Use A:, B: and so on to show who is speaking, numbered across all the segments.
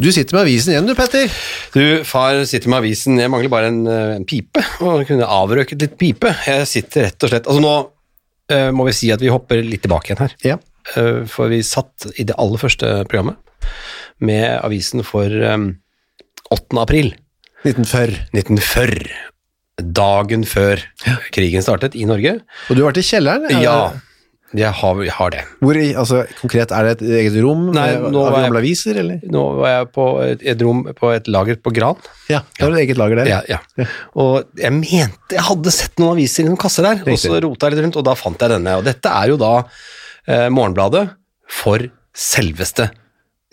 A: Du sitter med avisen igjen, du, Petter.
B: Du, far sitter med avisen. Jeg mangler bare en, eh, en pipe. Og kunne avrøket litt pipe. Jeg sitter rett og slett Altså, nå eh, må vi si at vi hopper litt tilbake igjen her.
A: Ja.
B: Eh, for vi satt i det aller første programmet med avisen for eh, 8. april
A: 1940.
B: 1940. Dagen før krigen startet i Norge.
A: Og du har vært i kjelleren? eller?
B: Ja, jeg har, jeg har det.
A: Hvor, i- altså, konkret, er det et eget rom?
B: Nei,
A: med-
B: nå
A: av
B: var jeg-
A: gamle aviser, eller?
B: Nå var jeg på et, et rom på et lager på Gran.
A: Ja, det er et eget lager der.
B: Ja, ja. Og jeg mente jeg hadde sett noen aviser i noen kasser der, og så rota jeg litt rundt, og da fant jeg denne. Og dette er jo da eh, Morgenbladet for selveste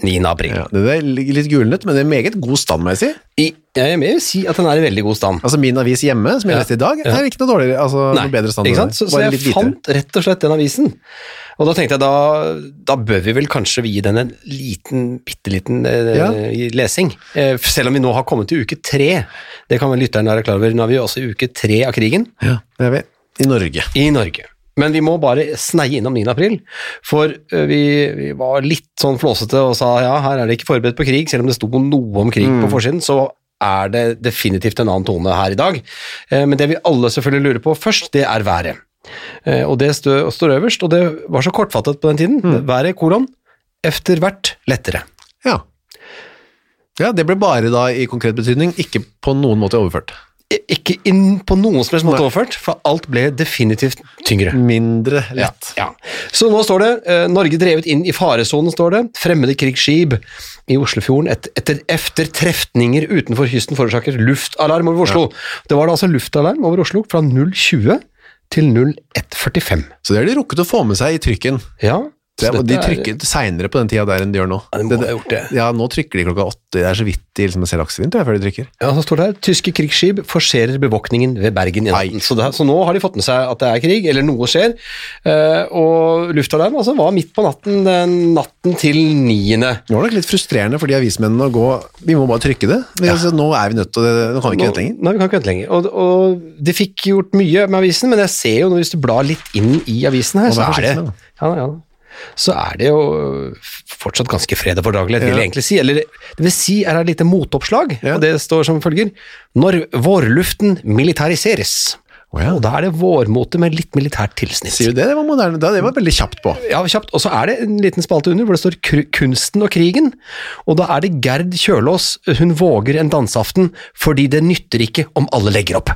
B: 9. april.
A: Ja, det er litt gulnet, men det er meget god stand, må jeg si.
B: I, jeg vil si at den er i veldig god stand.
A: Altså min avis hjemme, som jeg
B: Ja.
A: leste i dag,
B: Ja.
A: er ikke noe dårligere, altså noe bedre stand.
B: ikke sant? Så, så
A: Bare
B: jeg
A: litt hvitere.
B: fant rett og slett den avisen. Og da tenkte jeg, da, da bør vi vel kanskje vi gi den en liten, bitte liten eh,
A: Ja.
B: lesing. Eh, selv om vi nå har kommet til uke tre. Det kan vel lytteren være klar over. Nå er vi jo også i uke tre av krigen.
A: Ja, det er vi. I Norge.
B: i Norge. Men vi må bare sneie innom 9. april, for eh, vi, vi var litt sånn flåsete og sa ja, her er det ikke forberedt på krig, selv om det sto noe om krig på forsiden, så er det definitivt en annen tone her i dag. Eh, Men det vi alle selvfølgelig lurer på først, det er været. Eh, Og det stø, står øverst, og det var så kortfattet på den tiden. Været, kolon, efter hvert lettere.
A: Ja. Ja, det ble bare da i konkret betydning, ikke på noen måte overført.
B: I- Ikke inn på noen som helst måte overført, for alt ble definitivt tyngre.
A: Mindre lett.
B: Ja. Så nå står det eh, Norge drevet inn i faresonen, står det. Fremmede krigsskip i Oslofjorden et, etter, efter treftninger utenfor kysten forårsaker luftalarm over Oslo. Det var da altså luftalarm over Oslo fra 020 til 0145.
A: Så det har de rukket å få med seg i trykken.
B: Ja,
A: Det,
B: så
A: og
B: dette
A: de
B: er-
A: trykket seinere på den tida der enn de gjør nå.
B: Ja, de må ha gjort det.
A: Ja, nå trykker de klokka åtte. Det er så vidt de liksom ser Dagsrevyen tror jeg, før de trykker.
B: Ja, så står det her Tyske krigsskip forserer bevåkningen ved Bergen i
A: Nei.
B: natten. Så, det, så nå har de fått med seg at det er krig, eller noe skjer. Eh, og luftalarm altså, var midt på natten den natten til 9.
A: Det var nok litt frustrerende for de avismennene å gå Vi må bare trykke det. Men, altså, nå er vi nødt til å Nå kan vi ikke vente lenger.
B: Nei, vi kan ikke vente lenger. Og, og de fikk gjort mye med avisen, men jeg ser jo nå hvis du blar litt inn i avisen her,
A: Og
B: så
A: vær
B: er det
A: forsiktig med den.
B: ja, da, ja, da. Så er det jo fortsatt ganske fred og fordragelighet, vil
A: Ja.
B: jeg egentlig si. Eller det vil si, er det et lite motoppslag,
A: Ja.
B: og det står som følger Når vårluften militariseres.
A: Å ja.
B: Og da er det vårmote med litt militært tilsnitt.
A: Sier du det? Det var moderne. da- Det var veldig kjapt på.
B: Ja, kjapt. Og så er det en liten spalte under hvor det står kru- 'Kunsten og krigen'. Og da er det Gerd Kjølås 'Hun våger en danseaften fordi det nytter ikke om alle legger opp'.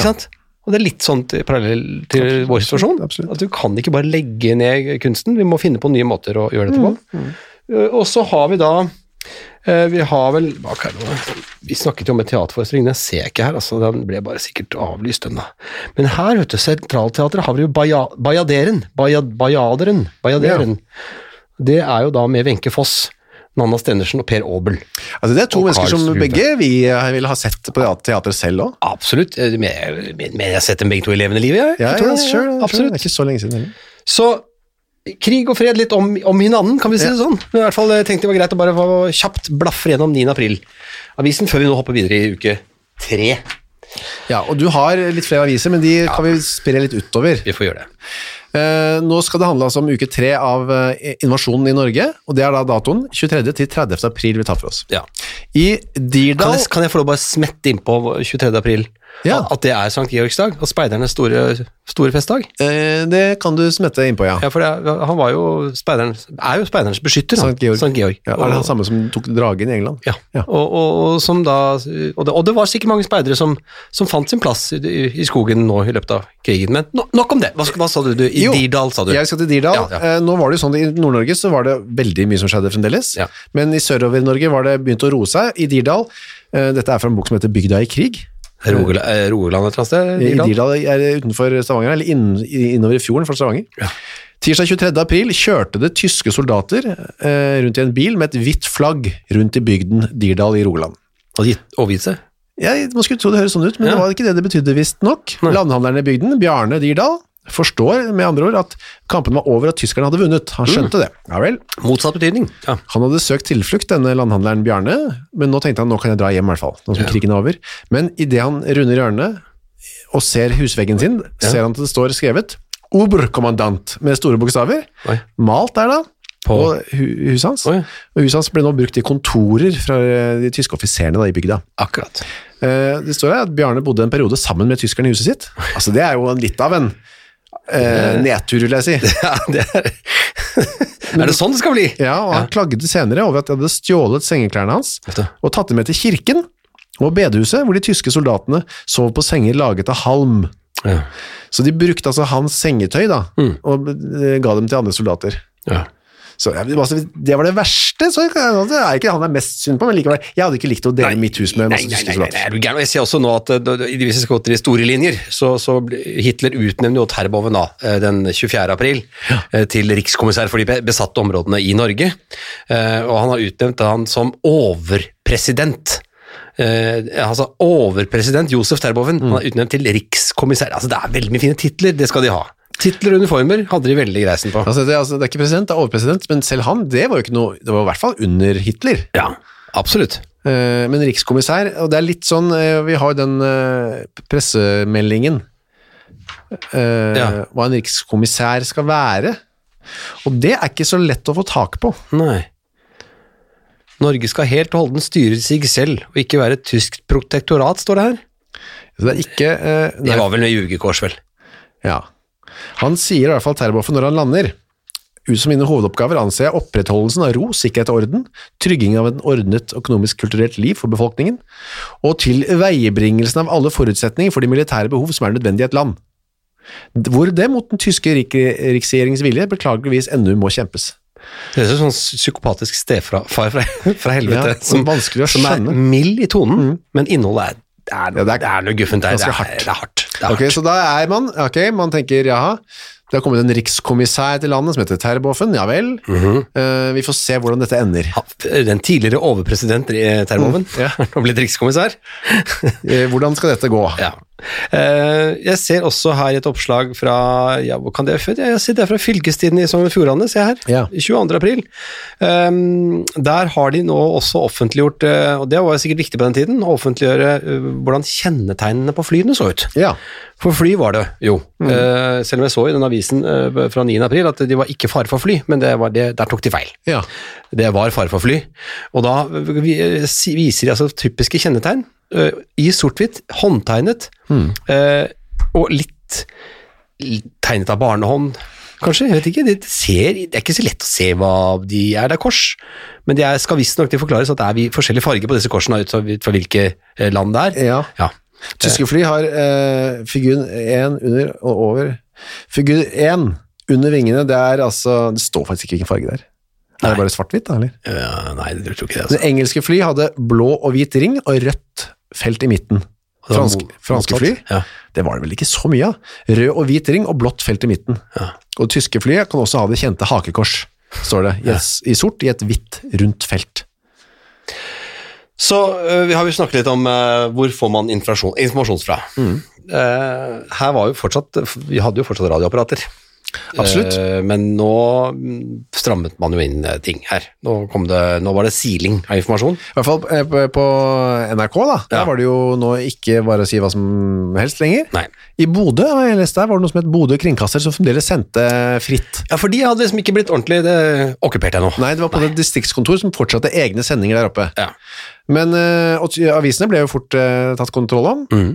A: Ja.
B: sant? Og det er litt sånn til- parallell til vår situasjon.
A: absolutt.
B: At du kan ikke bare legge ned kunsten, vi må finne på nye måter å gjøre dette på.
A: Mm,
B: Eh, Og så har vi da eh, vi har vel hva er det nå? Vi snakket jo om en teaterforestilling, den ser jeg ikke her. altså Den ble bare sikkert avlyst, den da. Men her, vet du, Sentralteatret har vi jo Baja- Bajaderen. Baja- Bajaderen. Bajaderen. Det er jo da med Wenche Foss, Nanna Stenersen og Per Aabel.
A: Altså, det er to
B: Og
A: mennesker som
B: Karlsruhe.
A: begge vi eh, ville ha sett på teatret selv òg.
B: Absolutt. eh, Men men- men jeg har sett dem begge to i levende liv, jeg.
A: Ja,
B: Jeg tror
A: ja,
B: det,
A: sure, sure.
B: Absolutt.
A: Det er ikke så lenge siden heller.
B: Så krig og fred litt om, om hinanden, kan vi si det sånn. Men i hvert fall eh, tenkte jeg var greit å bare få kjapt blaffe gjennom 9. april-avisen før vi nå hopper videre i uke tre.
A: Ja, og du har litt flere aviser, men de kan vi spre litt utover.
B: Vi får gjøre det.
A: Eh, nå skal det handle altså om uke tre av eh, invasjonen i Norge, og det er da datoen 23. til 30. april vi tar for oss.
B: Ja.
A: I Dirdal
B: Kan, jeg, kan jeg få lov å bare smette innpå 23. april
A: Ja.
B: at- at det er Sankt Georgs dag? At speidernes store, store festdag?
A: eh, Det kan du smette innpå, ja.
B: Ja, for det, er- han var jo speiderens, er jo speiderens beskytter, han.
A: Sankt Georg.
B: Sankt Georg.
A: Ja, er det han samme som tok dragen i England?
B: Ja. Og, og, og, som da, og, det, og det var sikkert mange speidere som, som fant sin plass i, i, i skogen nå i løpet av krigen, men no, nok om det. Hva, hva sa du? du? I
A: Jo,
B: Dirdal, sa du?
A: Jeg skal til Dirdal.
B: Ja, ja.
A: Eh, Nå var det jo sånn at I Nord-Norge så var det veldig mye som skjedde fremdeles,
B: Ja.
A: men i sørover-Norge var det begynt å roe seg. I Dirdal eh, Dette er fra en bok som heter 'Bygda i krig'.
B: Rogaland eh, Rogaland et eller annet sted?
A: I
B: Dirdal?
A: Dirdal er det utenfor Stavanger, eller inn, i- innover i fjorden fra Stavanger. Tirsdag 23. april kjørte det tyske soldater eh, rundt i en bil med et hvitt flagg rundt i bygden Dirdal i Rogaland.
B: Hadde gitt overgitt seg?
A: Ja, man skulle tro det høres sånn ut, men
B: Ja.
A: det var ikke det det betydde visst nok.
B: Nei.
A: Landhandleren i bygden, Bjarne Dirdal, forstår med andre ord at kampen var over og tyskerne hadde vunnet.
B: Mm.
A: Han skjønte det. Ja vel.
B: Motsatt betydning. Ja.
A: Han hadde søkt tilflukt, denne landhandleren Bjarne, men nå tenkte han nå kan jeg dra hjem i hvert fall, nå som krigen er over. Men idet han runder hjørnet og ser husveggen sin, ser han at det står skrevet Oberkommandant med store bokstaver.
B: Oi.
A: Malt der, da. På
B: På-
A: hu huset hans.
B: Oi.
A: Og huset hans ble nå brukt i kontorer fra eh, de tyske offiserene da, i bygda.
B: Akkurat.
A: Eh, Det står her at Bjarne bodde en periode sammen med tyskerne i huset sitt. Altså, det er jo en- litt av en eh, nedtur, vil jeg si.
B: Ja, det er Er det sånn det skal bli?
A: Ja, og han klagde senere over at de hadde stjålet sengeklærne hans
B: Vet du.
A: og tatt dem med til kirken og bedehuset, hvor de tyske soldatene sov på senger laget av halm.
B: Ja.
A: Så de brukte altså hans sengetøy da, og eh, ga dem til andre soldater.
B: Mm. Ja.
A: Så ja, altså, Det var det verste, så det er ikke han jeg er mest synd på, men likevel, jeg hadde ikke likt å dele mitt hus med
B: Nei,
A: masse
B: nei,
A: tyske
B: nei, nei,
A: soldater.
B: er du gæren? Og Jeg ser også nå at eh, da- da- hvis vi skal gå til de store linjer, så, så ble- Hitler utnevner jo Terboven da, eh, den 24. april eh, til rikskommissær for de be- besatte områdene i Norge. Eh, Og han har utnevnt han som overpresident. Eh, altså overpresident Josef Terboven.
A: Mm.
B: Han er utnevnt til rikskommissær. Altså Det er veldig mye fine titler, det skal de ha. Titler og uniformer hadde de veldig greisen på.
A: Altså, det, er- altså, det er ikke president, det er overpresident, men selv han, det var jo ikke noe, det var i hvert fall under Hitler.
B: Ja, absolutt.
A: Eh, men rikskommissær, og det er litt sånn, eh, vi har jo den eh, pressemeldingen, eh,
B: Ja.
A: hva en rikskommissær skal være, og det er ikke så lett å få tak på.
B: Nei. Norge skal helt og holdent styre seg selv, og ikke være et tysk protektorat, står det her.
A: Så det er ikke... eh, nei,
B: Det var vel med jugekors, vel.
A: Ja. Han sier i hvert fall Terboven når han lander. Ut som mine hovedoppgaver anser jeg opprettholdelsen av ro, sikkerhet og orden, tryggingen av en ordnet økonomisk kulturelt liv for befolkningen, og til veiebringelsen av alle forutsetninger for de militære behov som er nødvendige i et land. Hvor det mot den tyske rik riksregjerings vilje beklageligvis ennå må kjempes.
B: Det er sånn psykopatisk stefar fra, fra helvete,
A: Ja,
B: som,
A: vanskelig å
B: som er
A: skjønne. Mm.
B: mild i tonen, men innholdet er, det er,
A: Ja,
B: noe-
A: det er
B: det er noe guffent der. Det
A: ganske
B: er
A: hardt.
B: hardt. Det er hardt. Det er
A: Ok,
B: hardt.
A: Så da er man ok, man tenker jaha, det har kommet en rikskommissær til landet som heter Terboven, ja vel,
B: Mhm.
A: eh, vi får se hvordan dette ender.
B: Ha- Den tidligere overpresident eh, Termoven,
A: Mm, ja.
B: nå blitt rikskommissær.
A: Eh, hvordan skal dette gå?
B: Ja. Eh, Jeg ser også her et oppslag fra ja, hvor kan det, være fra? jeg ser det er fra fylkestiden i Sogn og Fjordane, se her.
A: Ja.
B: 22. april. Ehm, der har de nå også offentliggjort, eh, og det var jo sikkert viktig på den tiden, å offentliggjøre eh, hvordan kjennetegnene på flyene så ut.
A: Ja.
B: For fly var det, jo. Eh, selv om jeg så i den avisen eh, fra 9. april at de var ikke fare for fly, men det var det, der tok de feil.
A: ja.
B: Det var fare for fly. Og da eh, vi- eh, si- viser de altså typiske kjennetegn. eh, I sort-hvitt, håndtegnet,
A: Hmm.
B: eh, og litt, litt tegnet av barnehånd, kanskje. Jeg vet ikke. Det, ser, det er ikke så lett å se hva de er. Det er kors. Men det er, skal visstnok det forklares at det er vi- forskjellig farge på disse korsene ut fra ut fra hvilke eh, land det er.
A: Ja.
B: Ja.
A: Tyske fly har eh, figur 1 under og over. Figur 1 under vingene, det er altså Det står faktisk ikke hvilken farge det er. Er det bare svart-hvitt, da? eller?
B: Eh, nei, det tror ikke det. Altså.
A: Det engelske fly hadde blå og hvit ring og rødt felt i midten.
B: Det var
A: Fransk,
B: mo-
A: franske fly,
B: motsatt. Ja.
A: det var det vel ikke så mye av. Rød og hvit ring og blått felt i midten.
B: Ja.
A: Og det tyske flyet kan også ha det kjente hakekors, står det, i, et, i sort i et hvitt, rundt felt.
B: Så øh, vi har jo snakket litt om øh, hvor får man informasjon, informasjon fra.
A: Mm.
B: Eh, her var jo fortsatt Vi hadde jo fortsatt radioapparater.
A: Absolutt.
B: Eh, men nå mm, strammet man jo inn eh, ting her. Nå, kom det, nå var det siling av informasjon.
A: I hvert fall eh, på på NRK, da. Der
B: Ja.
A: var det jo nå ikke bare å si hva som helst lenger.
B: Nei.
A: I Bodø har jeg lest der, var det noe som het Bodø kringkaster som fremdeles sendte fritt.
B: Ja, for de hadde liksom ikke blitt ordentlig det, okkupert ennå.
A: Nei, det var på det distriktskontor som fortsatte egne sendinger der oppe.
B: Ja.
A: Men, eh, og ty- avisene ble jo fort eh, tatt kontroll om,
B: Mhm.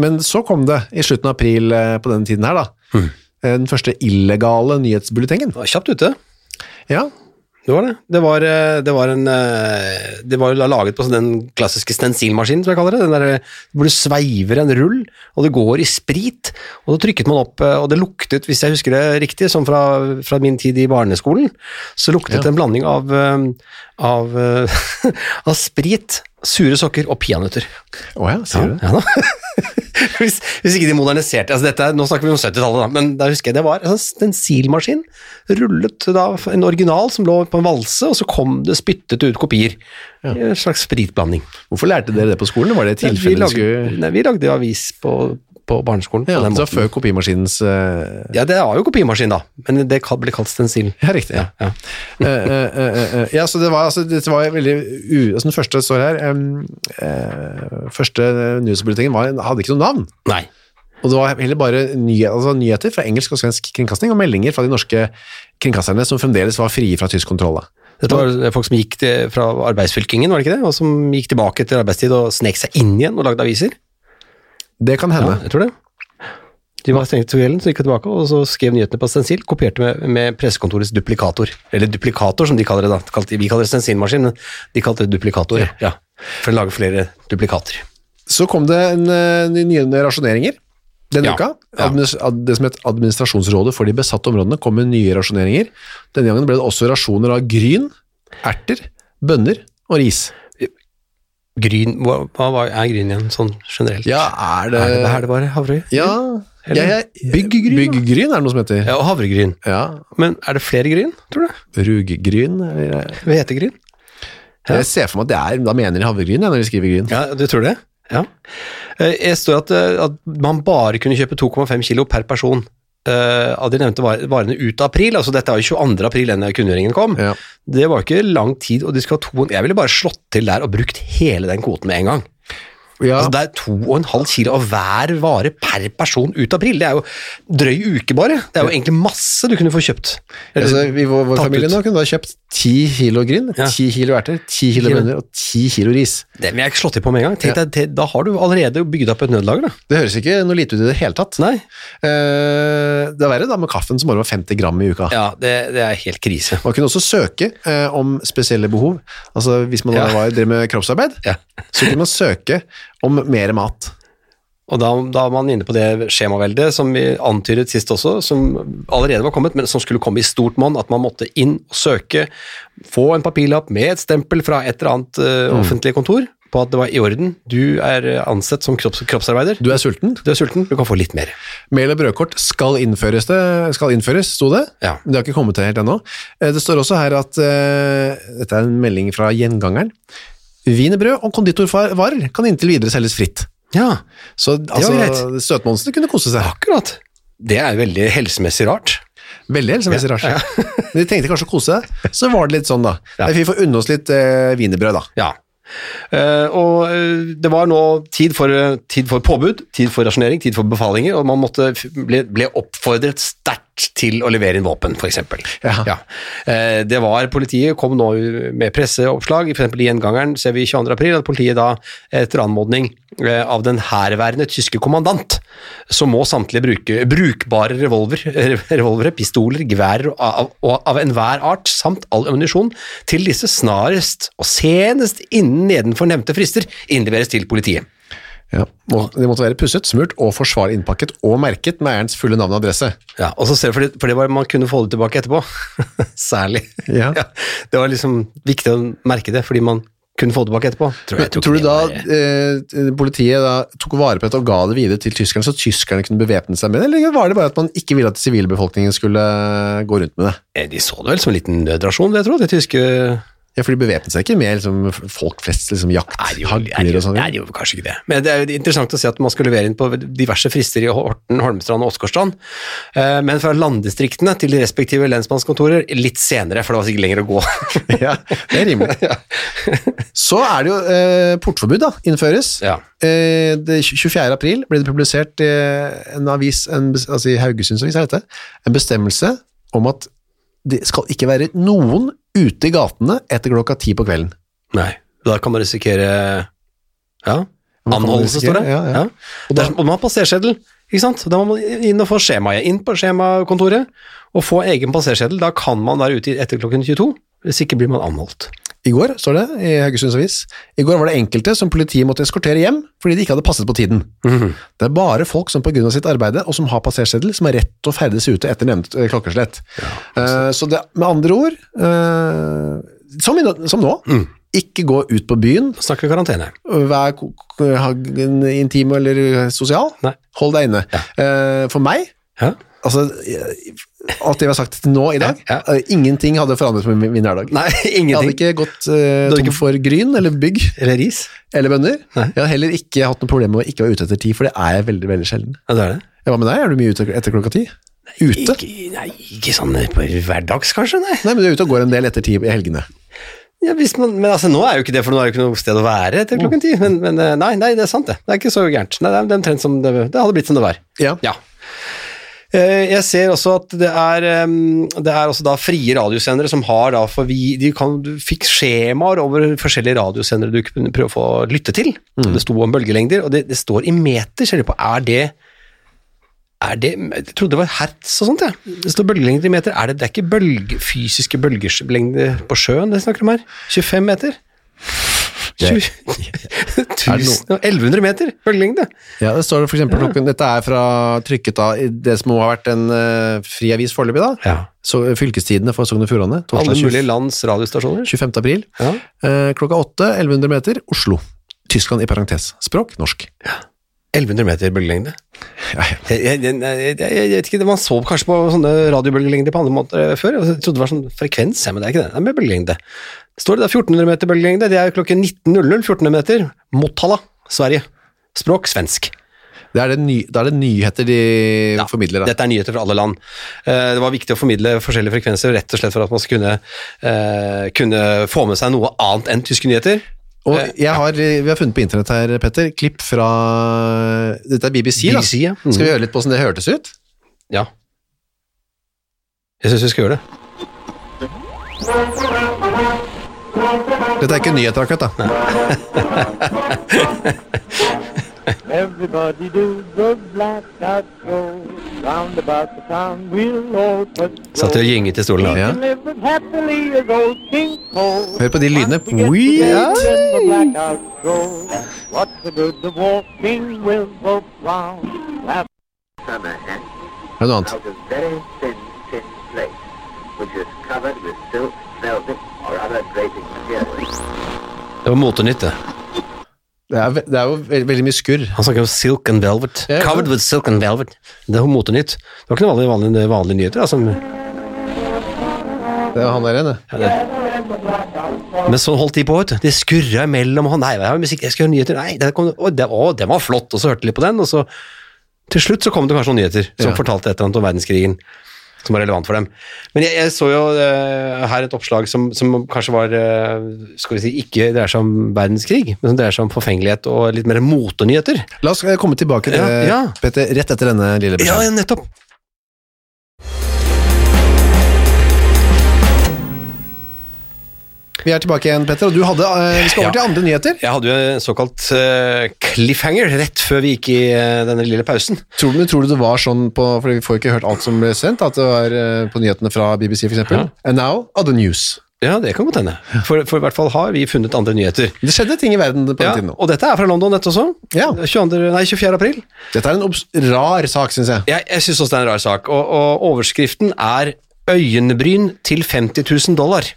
A: men så kom det i slutten av april eh, på denne tiden her da,
B: Mm.
A: eh, den første illegale nyhetsbulletengen.
B: Det var kjapt ute.
A: Ja,
B: Det var det. Det var, eh, det var en eh, Det var jo laget på sånn den klassiske stensilmaskinen, som jeg kaller det. Den der eh, hvor du sveiver en rull, og det går i sprit. Og da trykket man opp, eh, og det luktet, hvis jeg husker det riktig, som fra, fra min tid i barneskolen, så luktet det en blanding av eh, av, eh, av sprit, sure sokker og peanøtter.
A: åja, sier du det?
B: Ja da. hvis, hvis ikke de moderniserte altså dette, er- Nå snakker vi om 70-tallet, da, men da husker jeg det var altså, en silmaskin. Rullet da en original som lå på en valse, og så kom det spyttet ut kopier. En slags spritblanding.
A: Hvorfor lærte dere det på skolen? Var det
B: Nei, vi,
A: tilfellet dere
B: lagde,
A: skulle...
B: nei, vi lagde avis på, på barneskolen.
A: Ja,
B: på den
A: altså
B: måten.
A: før kopimaskinens... eh,
B: ja, det var jo kopimaskin, da, men det kal- ble kalt stensil.
A: Ja, riktig. Ja.
B: Ja.
A: Eh, eh, eh, eh, ja, så det var, altså, det var veldig u, altså, Den første står her em, eh, Første nyhetsbulletingen var, hadde ikke noe navn.
B: Nei.
A: Og det var heller bare nyheter, altså nyheter fra engelsk og svensk kringkasting, og meldinger fra de norske kringkasterne som fremdeles var frie fra tysk kontroll. da.
B: Dette var folk som gikk til, fra arbeidsfylkingen, var det ikke det? Og som gikk tilbake til arbeidstid og snek seg inn igjen og lagde aviser.
A: Det kan
B: Ja,
A: hende.
B: jeg tror det. De var stengt til kvelden, så gikk de tilbake og så skrev nyhetene på stensil, kopierte med, med pressekontorets duplikator. Eller duplikator, som de kaller det da. Det kalte- Vi kaller det stensilmaskin, men de kalte det duplikator. Ja. For å lage flere duplikater.
A: Så kom det en, eh, nye rasjoneringer denne
B: Ja,
A: uka.
B: ja.
A: Administ ad, det som het Administrasjonsrådet for de besatte områdene kom med nye rasjoneringer. Denne gangen ble det også rasjoner av gryn, erter, bønner og ris.
B: Gryn, hva, hva var- er gryn igjen, sånn generelt?
A: Ja, er det...
B: Er det er det bare havre?
A: Ja,
B: Eller
A: jeg- jeg-
B: byggegryn, da?
A: Byggegryn er det noe som heter.
B: Ja, og havregryn.
A: Ja,
B: Men er det flere gryn, tror du?
A: ruggryn. eller-
B: Hvetegryn? Ja.
A: Jeg ser for meg at det er, da mener de havregryn ja, når de skriver gryn.
B: Ja, du tror det? Ja. Eh, Jeg står at, eh, at man bare kunne kjøpe 2,5 kilo per person eh, av de nevnte var- varene ut av april. Altså dette var jo 22. april denne kunngjøringen kom.
A: Ja.
B: Det var jo ikke lang tid, og de skal ha to Jeg ville bare slått til der og brukt hele den kvoten med en gang.
A: Ja.
B: Altså, det er 2,5 kilo av hver vare per person ut av april. Det er jo drøy uke bare. Det er jo egentlig masse du kunne få kjøpt. Eller-
A: Altså, vi, vår, vår
B: tatt
A: familie
B: ut.
A: nå kunne da kjøpt 10 kilo gryn,
B: Ja.
A: 10 kilo erter, 10 kilo
B: Kilo.
A: bønner og 10 kilo ris.
B: det vil jeg ikke slå til på med en gang. Tenk deg, til- da har du allerede bygd opp et nødlager, da.
A: Det høres ikke noe lite ut i det hele tatt.
B: Nei.
A: Eh, det er verre da med kaffen som bare var 50 gram i uka.
B: Ja, det, det er helt krise.
A: Man kunne også søke eh, om spesielle behov. Altså hvis man da
B: Ja.
A: var, drev med kroppsarbeid,
B: Ja.
A: så kunne man søke om mer mat.
B: Og da, da er man inne på det skjemaveldet som vi antydet sist også, som allerede var kommet, men som skulle komme i stort monn, at man måtte inn og søke, få en papirlapp med et stempel fra et eller annet eh, offentlig kontor på at det var i orden, du er eh, ansett som kropps, kroppsarbeider,
A: Du er sulten.
B: du er sulten, du kan få litt mer.
A: Mel og brødkort skal innføres, det, skal innføres sto det.
B: Ja.
A: Men Det har ikke kommet til helt ennå. Eh, Det står også her at eh, Dette er en melding fra gjengangeren. Wienerbrød og konditorvarer kan inntil videre selges fritt.
B: Ja,
A: Så altså,
B: greit.
A: Støtmonsen kunne kose seg.
B: akkurat. Det er veldig helsemessig rart.
A: Veldig helsemessig rart. Men de tenkte kanskje å kose seg, så var det litt sånn, da.
B: Ja.
A: Nei, Vi får unne oss litt eh, wienerbrød, da.
B: Ja. Eh, og eh, det var nå tid for, eh, tid for påbud, tid for rasjonering, tid for befalinger, og man måtte f- ble, ble oppfordret sterkt til å levere inn våpen, f.eks.
A: Ja.
B: Eh, det var Politiet kom nå med presseoppslag, f.eks. i Gjengangeren ser vi 22. april at politiet da, etter anmodning eh, av den herværende tyske kommandant, så må samtlige bruke brukbare revolver, revolvere, pistoler, geværer og av, og av enhver art, samt all ammunisjon, til disse snarest og senest innen nedenfor nevnte frister innleveres til politiet.
A: Ja. Må, det måtte være pusset, smurt og forsvarlig innpakket og merket med eierens fulle navn og adresse.
B: Ja, og så ser du, for det, for det var man kunne få det tilbake etterpå. Særlig.
A: Ja.
B: Det var liksom viktig å merke det, fordi man kunne få det tilbake etterpå.
A: Men,
B: tok
A: tror du
B: det
A: da
B: der-
A: eh, politiet da tok vare på dette og ga det videre til tyskerne, så tyskerne kunne bevæpne seg med det, eller var det bare at man ikke ville at sivilbefolkningen skulle gå rundt med det?
B: Eh, De så det vel som en liten nødrasjon, vil jeg tro, det tyske
A: Ja, for de bevæpnet seg ikke med liksom, folk flest, liksom jakt,
B: Nei, de gjorde- nei, de
A: hagler og
B: gjorde-
A: sånn.
B: nei, de gjorde kanskje ikke det. Men det er jo interessant å se at man skal levere inn på diverse frister i Horten, Holmestrand og Åsgårdstrand. Eh, Men fra landdistriktene til de respektive lensmannskontorer litt senere, for det var sikkert lenger å gå.
A: Ja, det er rimelig. Så er det jo eh, portforbud da, innføres.
B: ja.
A: Eh, det, 24. april ble det publisert eh, en avis, en, bes- altså i Haugesunds avis er dette, en bestemmelse om at det skal ikke være noen ute i gatene etter klokka ti på kvelden.
B: Nei. Da kan man risikere Ja.
A: man
B: Anholdelse,
A: risikere,
B: står det.
A: ja, ja.
B: Og, der, og man har passerseddel, ikke sant. Da må man inn og få skjemaet. Inn på skjemakontoret og få egen passerseddel. Da kan man være ute etter klokken 22. Hvis ikke blir man anholdt.
A: I går, står det i Haugesunds avis, i går var det enkelte som politiet måtte eskortere hjem fordi de ikke hadde passet på tiden. Det er bare folk som på grunn av sitt arbeid og som har passerseddel, som har rett til å ferdes ute etter nevnt eh, klokkeslett. Eh, så det, med andre ord, eh, som, i, nå- som nå, Ikke gå ut på byen,
B: Da snakker vi karantene.
A: vær ko- ko- ha en intim eller sosial.
B: Nei.
A: Hold deg inne. Eh, For meg,
B: Ja.
A: altså, jeg- alt det vi har sagt til nå i dag,
B: Ja,
A: eh, ingenting hadde forandret meg i min- min hverdag.
B: Nei,
A: Jeg hadde
B: ingenting.
A: ikke gått eh,
B: hadde
A: tom
B: ikke-
A: for gryn eller bygg
B: Eller ris.
A: eller bønner.
B: Nei.
A: Jeg hadde heller ikke hatt noe problem med å ikke være ute etter ti, for det er jeg veldig, veldig sjelden.
B: Ja, det er det.
A: Ja, Hva med deg? Er du mye ute etter klokka ti? Ute?
B: Ikke, nei, ikke sånn på hverdags, kanskje, nei.
A: Nei, men du er ute og går en del etter ti i helgene.
B: Ja, hvis man, men altså, nå er jo ikke det, for nå er det jo ikke noe sted å være etter klokken ti. Men, men eh, nei, nei, det er sant, det. Det er ikke så gærent. Nei, det er det er omtrent som det, det hadde blitt som det var.
A: Ja.
B: Ja. Eh, Jeg ser også at det er, em, det er også da frie radiosendere som har da for vi, De kan, du fikk skjemaer over forskjellige radiosendere du kunne prøve å få lytte til. Det sto om bølgelengder, og det, det står i meter. ser jeg på. Er det er det, jeg trodde det var hertz og sånt, jeg. Det står bølgelengder i meter. Er det, det er ikke bølge, fysiske bølgelengder på sjøen det snakker om her? 25 meter?
A: Det-
B: 20, 1000 og 1100 meter bølgelengde?
A: Ja, det står for eksempel klokken, dette er fra trykket av i det som må ha vært en eh, fri avis foreløpig da,
B: Ja.
A: så, eh, fylkestidene for Sogn og Fjordane, torsdag
B: Alle
A: 20
B: mulige lands radiostasjoner.
A: 25. april,
B: Ja.
A: Eh, klokka 8, 1100 meter, Oslo. Tyskland i parentes. Språk, norsk.
B: 1100 meter bølgelengde.
A: Ja, ja.
B: Jeg, jeg, jeg, jeg, jeg vet ikke, Man så kanskje på sånne radiobølgelengder på andre måter eh, før. Jeg trodde det var sånn frekvens, ja, men det er ikke det. Det er med bølgelengde. Står det da 1400 meter bølgelengde? Det er klokken 19.00, 1400 meter. Motala, Sverige. Språk svensk.
A: Det er det, ny, det er det nyheter de
B: Ja,
A: formidler da.
B: Dette er nyheter fra alle land. Eh, Det var viktig å formidle forskjellige frekvenser, rett og slett for at man skulle kunne, eh, kunne få med seg noe annet enn tyske nyheter.
A: Og jeg har, eh, vi har funnet på internett her, Petter, klipp fra, dette er BBC da.
B: BBC, ja. Mm.
A: Skal vi høre litt på hvordan det hørtes ut?
B: Ja. Jeg syns vi skal gjøre det.
A: Dette er ikke nyheter akkurat da.
C: Everybody do the black eyed roll round about the town we'll all patrol.
B: Satt og gynget i stolen. da.
A: Ja.
C: And live as happily as old King Cole.
A: Hør på de lydene.
C: Once we get
A: Wee!
C: together in the black eyed roll, What's the good of walking with the round? Laugh
D: summer hat
A: Hør noe annet.
D: out of very thin, thin plate, which is covered with silk, velvet, or other draping material.
B: Det var motenytt, det.
A: Det er, ve- det er jo veldig, veldig mye skurr.
B: Han snakker om silk and velvet.
A: Ja, ja.
B: Covered with silk and velvet. Det var motenytt. Det var ikke noen vanlige, vanlige, vanlige nyheter. Altså.
A: Det er han der igjen, det.
B: Men sånn holdt de på, vet du. De skurra imellom. og han, Nei, det er musikk, jeg skal høre nyheter. Nei, det kom, å, det, å, den var flott. Og så hørte de litt på den, og så Til slutt så kom det kanskje noen nyheter som
A: Ja.
B: fortalte et eller annet om verdenskrigen. Som var relevant for dem. Men jeg, jeg så jo eh, her et oppslag som, som kanskje var eh, Skal vi si ikke dreier seg om verdenskrig, men som dreier seg om forfengelighet og litt mer motenyheter.
A: La oss eh, komme tilbake til
B: Ja, ja.
A: Petter rett etter denne lille
B: Ja,
A: beskjeden.
B: nettopp.
A: Vi er tilbake igjen, Petter, og du hadde, eh, vi skal over
B: Ja.
A: til andre nyheter.
B: Jeg hadde jo en såkalt eh, cliffhanger rett før vi gikk i eh, denne lille pausen.
A: Tror du, men tror du det var sånn på, for vi får ikke hørt alt som ble sendt, at det var eh, på nyhetene fra BBC for eksempel.
B: Ja.
A: And now, other news.
B: Ja, det kan godt hende. For, for i hvert fall har vi funnet andre nyheter.
A: Det skjedde ting i verden på den
B: Ja,
A: tiden nå.
B: og dette er fra London dette også.
A: Ja.
B: 22, nei, 24. april.
A: Dette er en obs- rar sak, synes jeg.
B: Jeg, jeg syns også det er en rar sak. Og, og overskriften er 'Øyenbryn til 50 000 dollar'.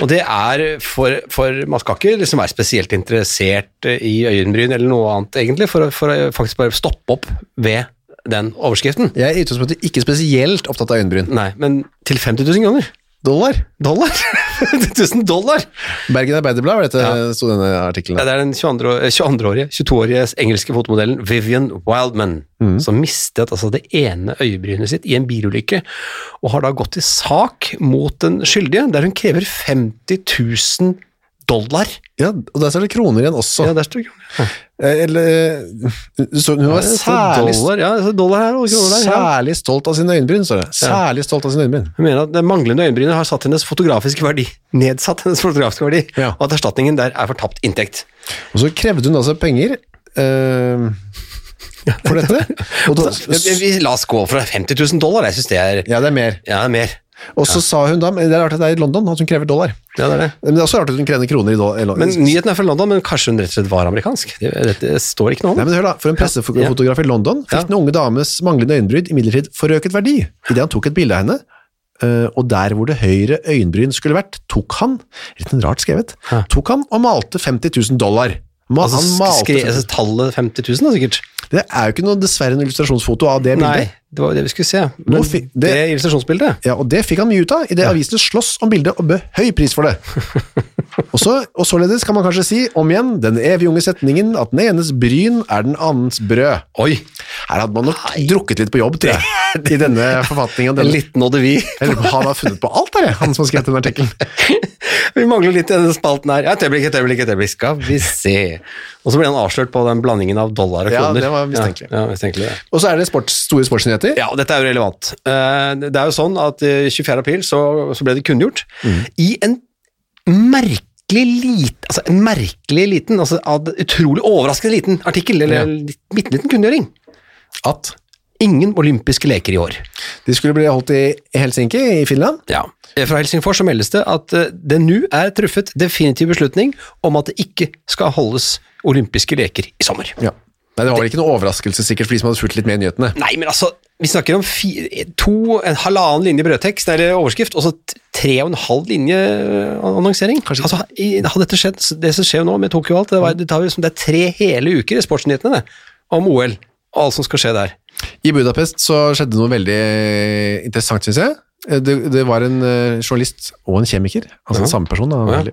B: Og det er for, for Man skal ikke liksom være spesielt interessert i øyenbryn eller noe annet, egentlig, for, å- for å faktisk bare stoppe opp ved den overskriften.
A: Jeg er i utgangspunktet ikke spesielt opptatt av øynbryn.
B: Nei, men til 50 000 kroner?
A: Dollar.
B: Dollar? 1000 dollar?
A: Bergen Arbeiderblad, var dette,
B: Ja.
A: sto denne artikkelen.
B: Ja, det er den 22-årige, 22-årige 22-årige engelske fotomodellen Vivian Wildman som mistet altså det ene øyebrynet sitt i en bilulykke, og har da gått til sak mot den skyldige, der hun krever 50 000 dollar.
A: Ja, og der står det kroner igjen også.
B: Ja, der står kroner. Ja,
A: Eh, Eller, eh, så hun var
B: det står
A: særlig,
B: dollar, ja, det står dollar her og kroner der. Ja.
A: særlig stolt av sine øynbryn, står det. Særlig stolt av sine øynbryn.
B: Hun mener at det manglende øyenbrynet har satt hennes fotografiske verdi, nedsatt hennes fotografiske verdi,
A: Ja.
B: og at erstatningen der er for tapt inntekt.
A: Og så krevde hun altså penger eh, for dette. Og da,
B: Vi, vi, la oss gå for 50 000 dollar, jeg syns det er
A: ja, det er mer.
B: ja, mer.
A: Og så sa hun da, men det er rart at det er i London, at hun krever dollar.
B: Ja, det er det.
A: Men det er også rart at hun krever kroner i dollar.
B: Men Nyheten er fra London, men kanskje hun rett og slett var amerikansk? Det, dette står ikke noe om.
A: Nei, men hør da, For en pressefotograf i London fikk
B: Ja.
A: den unge dames manglende øyenbryd imidlertid forøket verdi idet han tok et bilde av henne eh, og der hvor det høyre øyenbryn skulle vært, tok han, litt rart skrevet,
B: Hæ.
A: tok han og malte 50 000 dollar. Ma,
B: Altså,
A: han
B: sk-
A: malte
B: skre, altså, tallet 50 000, da, sikkert.
A: Det er jo ikke noe, dessverre en illustrasjonsfoto av det
B: Nei,
A: bildet.
B: det var det vi skulle se. Men det,
A: fi- det-
B: illustrasjonsbildet
A: Ja, og det fikk han mye ut av, i det avisene slåss om bildet og bød høy pris for det. og, så, og således kan man kanskje si, om igjen, den evig unge setningen at den enes bryn er den annens brød.
B: Oi!
A: Her hadde man nok drukket litt på jobb, tror jeg, i denne forfatningen.
B: En
A: Denne.
B: liten nådde vi.
A: Jeg lurer på, han har funnet på alt, der, jeg, han som har skrevet den artikkelen.
B: Vi mangler litt i denne spalten her. Ja, et øyeblikk, et øyeblikk, et øyeblikk. Skal vi se. Og så ble han avslørt på den blandingen av dollar og
A: Ja,
B: kroner.
A: det var mistenkelig.
B: Ja, ja, mistenkelig, ja.
A: Og så er det sports, store sportsnyheter.
B: Ja, og dette er jo relevant. Eh, Det er jo sånn at eh, 24. april så, så ble det kunngjort i en merkelig liten, altså en merkelig liten, altså ad, utrolig overraskende liten artikkel, eller
A: Ja.
B: en litt- bitte liten kunngjøring. At ingen olympiske leker i år.
A: De skulle bli holdt i Helsinki i Finland.
B: Ja. Eh, Fra Helsingfors så meldes det at eh, det nå er truffet definitiv beslutning om at det ikke skal holdes olympiske leker i sommer.
A: Ja. Nei, det var vel ikke noe overraskelse sikkert for de som hadde fulgt litt med i nyhetene.
B: Nei, men altså, vi snakker om fi- to, en halvannen linje brødtekst, eller overskrift, og så t- tre og en halv linje eh, annonsering. Altså, i- hadde dette skjedd, så det som skjer nå med Tokyo og alt, det, var, det, tar, jo som- det er tre hele uker i sportsnyhetene, det, om OL, og alt som skal skje der.
A: I Budapest så skjedde noe veldig interessant, synes jeg. Det, det var en eh, journalist og en kjemiker, altså den samme person, da,
B: Ja.
A: veldig,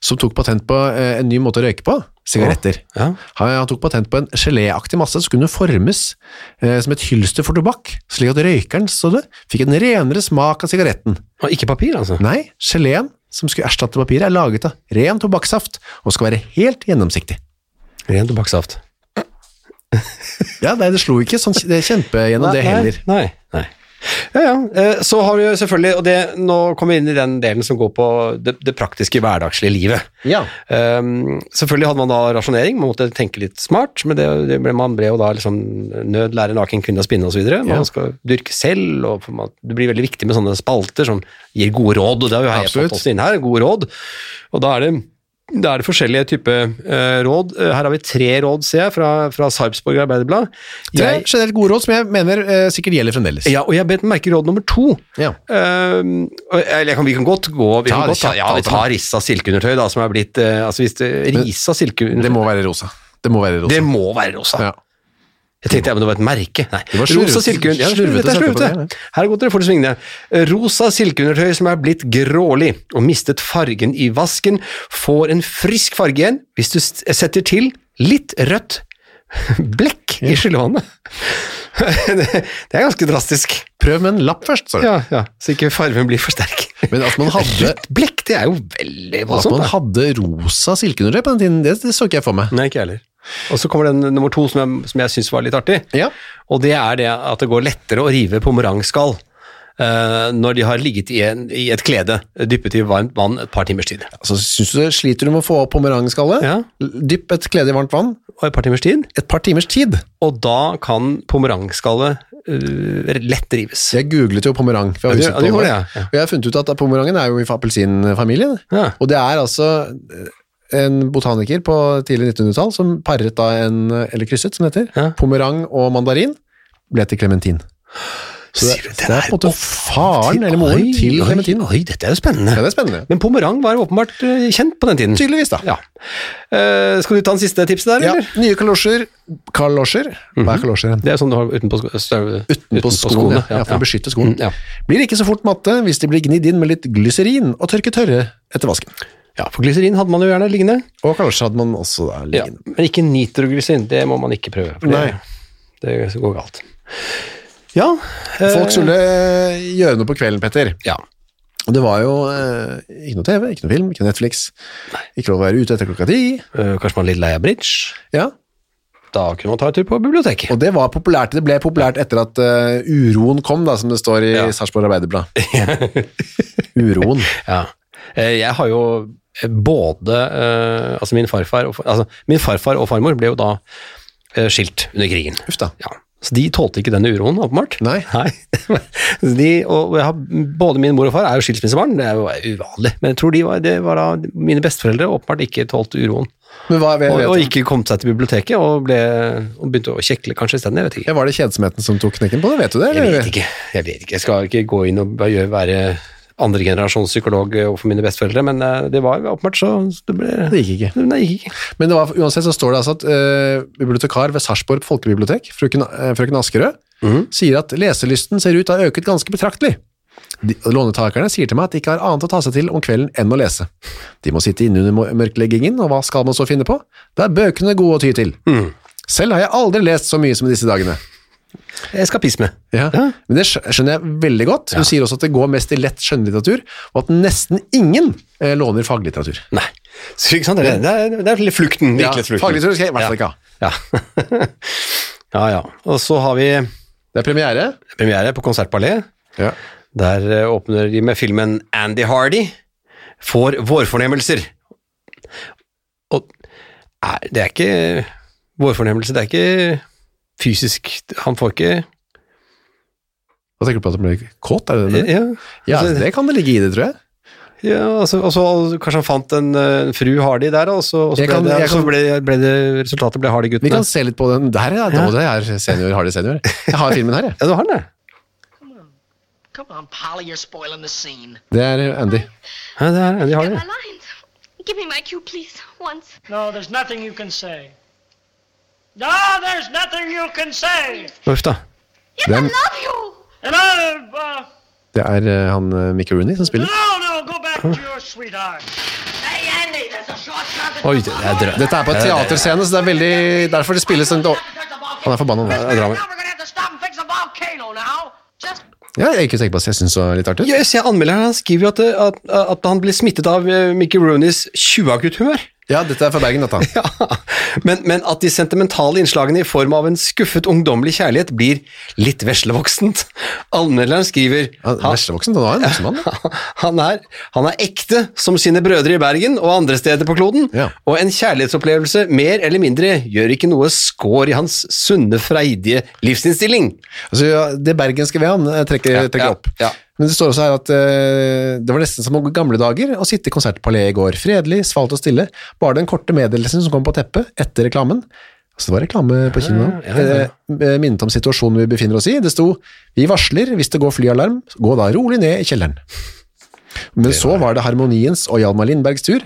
A: som tok patent på eh, en ny måte å røyke på, sigaretter.
B: Ja.
A: Han, han tok patent på en geléaktig masse som kunne formes eh, som et hylster for tobakk, slik at røykeren så det, fikk en renere smak av sigaretten.
B: Og ikke papir, altså.
A: Nei, geléen som skulle erstatte papiret er laget av ren tobakksaft og skal være helt gjennomsiktig.
B: Ren tobakkssaft.
A: Ja, nei, det slo ikke sånn det er kjempegjennom det heller.
B: Nei, nei. Ja, ja. Eh, Så har vi jo selvfølgelig, og det, nå kommer vi inn i den delen som går på det, det praktiske hverdagslige livet.
A: Ja.
B: Ehm, selvfølgelig hadde man da rasjonering, man måtte tenke litt smart, men det, det ble, man ble jo da liksom nød lære naken kvinne å spinne osv. Man
A: Ja.
B: skal dyrke selv, og for man, det blir veldig viktig med sånne spalter som gir gode råd, og det har jo jeg
A: Absolutt.
B: fått også inn her, gode råd. Og da er det, da er det forskjellige typer eh, råd. Eh, Her har vi tre råd, ser jeg, fra, fra Sarpsborg Arbeiderblad.
A: Det er
B: Jeg-
A: generelt gode råd som jeg mener eh, sikkert gjelder fremdeles.
B: ja, og jeg bet merke råd nummer to.
A: Ja.
B: Ehm, og- eller jeg kan, vi kan godt gå vi
A: Ta
B: kan
A: det
B: godt ta,
A: kjapt,
B: Ja, vi
A: altså.
B: tar Rissa silkeundertøy, da, som er blitt eh, Altså hvis det, Risa silkeundertøy
A: Det må være rosa. Det må være rosa.
B: Det må være rosa.
A: Ja.
B: Jeg tenkte ja, men det var et merke. Nei.
A: var slurvete-
B: rosa silkeundertøy. Ja,
A: slurvete
B: slurvete,
A: satte på
B: slurvete.
A: det, ja.
B: Her er godt dere får det svingende. Rosa silkeundertøy som er blitt grålig og mistet fargen i vasken, får en frisk farge igjen hvis du s- setter til litt rødt blekk i skyllevannet. det det er ganske drastisk.
A: Prøv med en lapp først, sa du.
B: Ja, ja, så ikke fargen blir for sterk.
A: Men at man hadde,
B: Rødt blekk, det er jo veldig
A: at
B: voldsomt.
A: man
B: da.
A: hadde rosa silkeundertøy på den tiden, det, det så ikke jeg for meg.
B: Nei, ikke jeg heller. Og så kommer den nummer to som jeg, som jeg syns var litt artig.
A: Ja.
B: Og det er det at det går lettere å rive pomorangskall eh, når de har ligget i, en, i et klede dyppet i varmt vann et par timers tid.
A: Altså, synes du, sliter du med å få opp pomerangskallet?
B: Ja.
A: L- Dypp et klede i varmt vann
B: Og et par timers tid,
A: et par timers tid.
B: og da kan pomorangskallet eh, lett rives.
A: Jeg googlet jo pomerang. for jeg
B: Ja,
A: var usikker
B: du- ja,
A: på
B: du gjorde
A: det.
B: det, ja.
A: Og jeg har funnet ut at pomerangen er jo fra appelsinfamilien.
B: Ja.
A: Og det er altså eh, en botaniker på tidlig 1900-tall som paret da en, eller krysset som det heter,
B: Ja.
A: pomerang og mandarin, ble til clementin. Så det,
B: Sier du,
A: det er på en måte faren eller moren
B: Oi,
A: til
B: oi,
A: clementin.
B: Oi, dette er jo spennende.
A: Ja, det er spennende.
B: Men pomorang var åpenbart eh, kjent på den tiden.
A: Tydeligvis, da.
B: Ja. Eh, skal du ta den siste tipset der,
A: Ja,
B: eller?
A: nye kalosjer. Kalosjer. Hva er kalosjer? igjen?
B: Det er sånn du har utenpå, sko støv,
A: Utenpå skoene, ja, for å beskytte skoen.
B: Mm, ja.
A: Blir ikke så fort matte hvis de blir gnidd inn med litt glyserin og tørket tørre etter vasken.
B: ja, for glyserin hadde man jo gjerne liggende.
A: Og kalosjer hadde man også da
B: Ja,
A: liggende.
B: men ikke nitroglyserin, det må man ikke prøve. For
A: Nei.
B: Det, det går galt. Ja. eh,
A: Folk skulle eh, gjøre noe på kvelden, Petter.
B: Ja.
A: Og det var jo eh, ikke noe TV, ikke noe film, ikke noe Netflix. Ikke lov å være ute etter klokka ti.
B: eh, kanskje man er litt lei av bridge.
A: Ja.
B: Da kunne man ta en tur på biblioteket.
A: Og det var populært. Det ble populært etter at eh, uroen kom, da, som det står i
B: Ja.
A: Sarpsborg Arbeiderblad. uroen.
B: Ja. Eh, Jeg har jo både eh, Altså, min farfar og, fa- altså, min farfar og farmor ble jo da eh, skilt under krigen.
A: Uff da.
B: Ja. Så de tålte ikke denne uroen, åpenbart.
A: Nei.
B: Så de, og jeg har, både min mor og far er jo skilsmissebarn, det er jo uvanlig. Men jeg tror de var, det var da mine besteforeldre åpenbart ikke tålte uroen.
A: Men hva vet,
B: Og,
A: vet
B: og
A: du?
B: ikke kom seg til biblioteket og, ble, og begynte å kjekle kanskje isteden. Jeg vet ikke.
A: Ja, Var det kjedsomheten som tok knekken på det? Vet du det?
B: Jeg
A: eller?
B: vet ikke. Jeg vet ikke. Jeg skal ikke gå inn og bare gjøre- være andregenerasjons psykolog overfor mine besteforeldre, men eh, det var åpenbart så så det ble
A: Det gikk ikke.
B: Nei, det gikk ikke.
A: Men det var, uansett så står det altså at eh, bibliotekar ved Sarpsborg folkebibliotek, frøken, eh, frøken Askerød, sier at leselysten ser ut til å ha øket ganske betraktelig. De, lånetakerne sier til meg at de ikke har annet å ta seg til om kvelden enn å lese. De må sitte inne under mo- mørkleggingen, og hva skal man så finne på? Det er bøkene gode å ty til. Selv har jeg aldri lest så mye som i disse dagene.
B: Eskapisme.
A: Ja. Men det skj- skjønner jeg veldig godt. Hun sier også at det går mest i lett skjønnlitteratur, og at nesten ingen eh, låner faglitteratur.
B: Nei. Så, ikke sant? Det, er- det, er, det er litt flukten.
A: Ja,
B: virkelighetsflukten.
A: faglitteratur skal jeg i hvert fall ikke ha.
B: Ja. ja, ja. Og så har vi
A: Det er premiere.
B: premiere på Konsertballet.
A: Ja.
B: Der eh, åpner de med filmen Andy Hardy får vårfornemmelser. Og nei, det er ikke vårfornemmelse, det er ikke fysisk Han får ikke
A: Hva tenker du på at han blir kåt? Er det det? du mener?
B: Ja,
A: Ja,
B: Altså-
A: det kan det ligge i det, tror jeg.
B: ja altså, og så kanskje han fant en eh, fru Hardy der, og så, og så,
A: Jeg
B: ble,
A: kan-
B: det,
A: jeg
B: og så
A: kan-
B: ble, ble det resultatet ble
A: Vi
B: Hardy-guttene.
A: kan se litt på den. Der ja, da, det er senior, Hardy senior. Jeg har filmen her, jeg.
B: Ja, du har den, ja.
E: Come on, Polly, you're spoiling the scene.
A: Det er eh, Andy.
B: ja. Det er Andy
F: Get
B: Hardy.
F: my lines. Give me my cue, please. Once.
G: No, there's nothing you can say. No, there's nothing you can say.
B: Uff da.
F: Yes,
A: Then-
F: I love you.
G: And I, uh,
A: Det er eh, han eh, Mickey Rooney som spiller.
G: no, no, go back to your sweetheart.
E: Hey, Andy, there's a short shot that
B: Oi, det er drø...
A: Dette er på en teaterscene, så det er veldig Derfor det spilles en dår-
E: there's a volcano.
A: Han er forbanna nå.
B: Det er
E: Now we're
B: drama.
E: gonna have to stop and fix a volcano now. Just
A: Ja, jeg kunne tenke på at jeg syns det var litt artig.
B: Jøss, jeg anmelder her, han skriver jo at, at, at han ble smittet av eh, Mickey Rooneys tjueagutt humør.
A: Ja, dette er fra Bergen, dette.
B: Ja, men, men at de sentimentale innslagene i form av en skuffet ungdommelig kjærlighet blir litt veslevoksent. Anmelderen skriver
A: Han er Veslevoksen. Han var en voksen mann.
B: han er, han er ekte som sine brødre i Bergen og andre steder på kloden,
A: Ja.
B: og en kjærlighetsopplevelse mer eller mindre gjør ikke noe skår i hans sunne, freidige livsinnstilling.
A: Altså, ja, det bergenske ved han eh, trekker,
B: Ja,
A: trekker
B: ja,
A: opp.
B: ja.
A: Men det står også her at eh, det var nesten som i gamle dager å sitte i konsertpalet i går. Fredelig, svalt og stille. Bare den korte meddelelsen som kom på teppet etter reklamen. Altså, det var reklame på kinoen.
B: Ja, ja, ja.
A: Eh, eh, minnet om situasjonen vi befinner oss i. Det sto 'Vi varsler hvis det går flyalarm. Gå da rolig ned i kjelleren'. Men så var det Harmoniens og Hjalmar Lindbergs tur.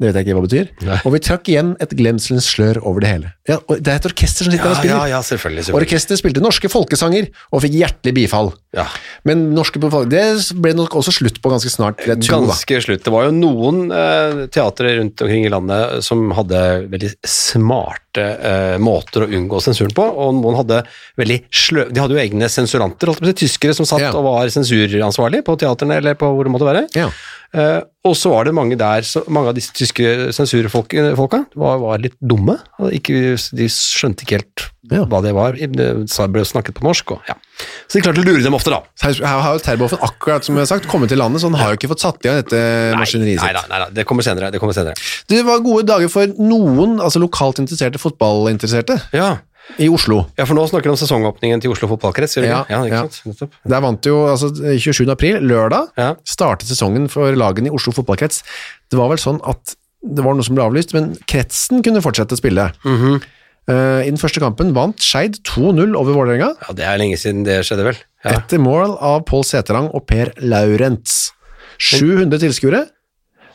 A: Det vet jeg ikke hva det betyr. Og vi trakk igjen et glemselens slør over det hele. Ja, og det er et orkester som sitter der og spiller.
B: selvfølgelig.
A: Orkesteret spilte norske folkesanger og fikk hjertelig bifall.
B: Ja.
A: Men norske folk- det ble nok også slutt på ganske snart. vil Jeg tror, da.
B: Ganske slutt. Det var jo noen eh, teatre rundt omkring i landet som hadde veldig smarte eh, måter å unngå sensuren på, og noen hadde veldig slø... De hadde jo egne sensuranter, holdt jeg på å si, tyskere som satt
A: Ja.
B: og var sensuransvarlig på teaterne eller på hvor det måtte være.
A: Ja.
B: Eh, og så var det mange der, så, mange av disse tyske sensurfolka var, var litt dumme. og Ikke, de skjønte ikke helt
A: Ja.
B: hva det var. Det sa- ble snakket på norsk. Og, ja. Så de klarte å lure dem ofte, da.
A: Her her har jo Terboven akkurat som jeg har sagt, kommet til landet, så han har jo ikke fått satt i gang dette maskineriet
B: nei,
A: sitt.
B: nei, nei, nei, det kommer senere. Det kommer senere.
A: Det var gode dager for noen altså lokalt interesserte fotballinteresserte
B: Ja,
A: i Oslo.
B: Ja, for nå snakker du om sesongåpningen til Oslo fotballkrets, gjør du
A: Ja,
B: ikke? Ja, ikke
A: ja.
B: sant? Nettopp.
A: Der vant jo altså 27. april, lørdag,
B: Ja.
A: startet sesongen for lagene i Oslo fotballkrets. Det var vel sånn at det var noe som ble avlyst, men kretsen kunne fortsette å spille. Eh, I den første kampen vant Skeid 2-0 over Vålerenga.
B: Ja, det er lenge siden det skjedde, vel? Ja.
A: Etter mål av Pål Seterang og Per Laurents. 700 tilskuere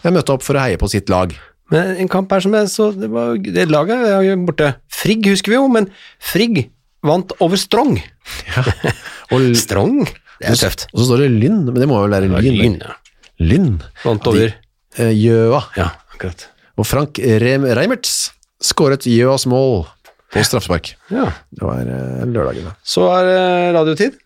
A: Jeg møtte opp for å heie på sitt lag.
B: Men en kamp her som er så Det, var, det laget er jo borte. Frigg husker vi jo, men Frigg vant over Strong.
A: Og, l-
B: Strong? Det er tøft.
A: og så står det Lynn, men det må vel være Lyn?
B: Lyn, ja.
A: Lynn.
B: Vant over
A: Eh, Gjøa.
B: Ja, akkurat.
A: Og Frank Rem Reimerts skåret Gjøas mål på straffespark.
B: Ja.
A: Det var eh, lørdagen, da.
B: Så er det radiotid.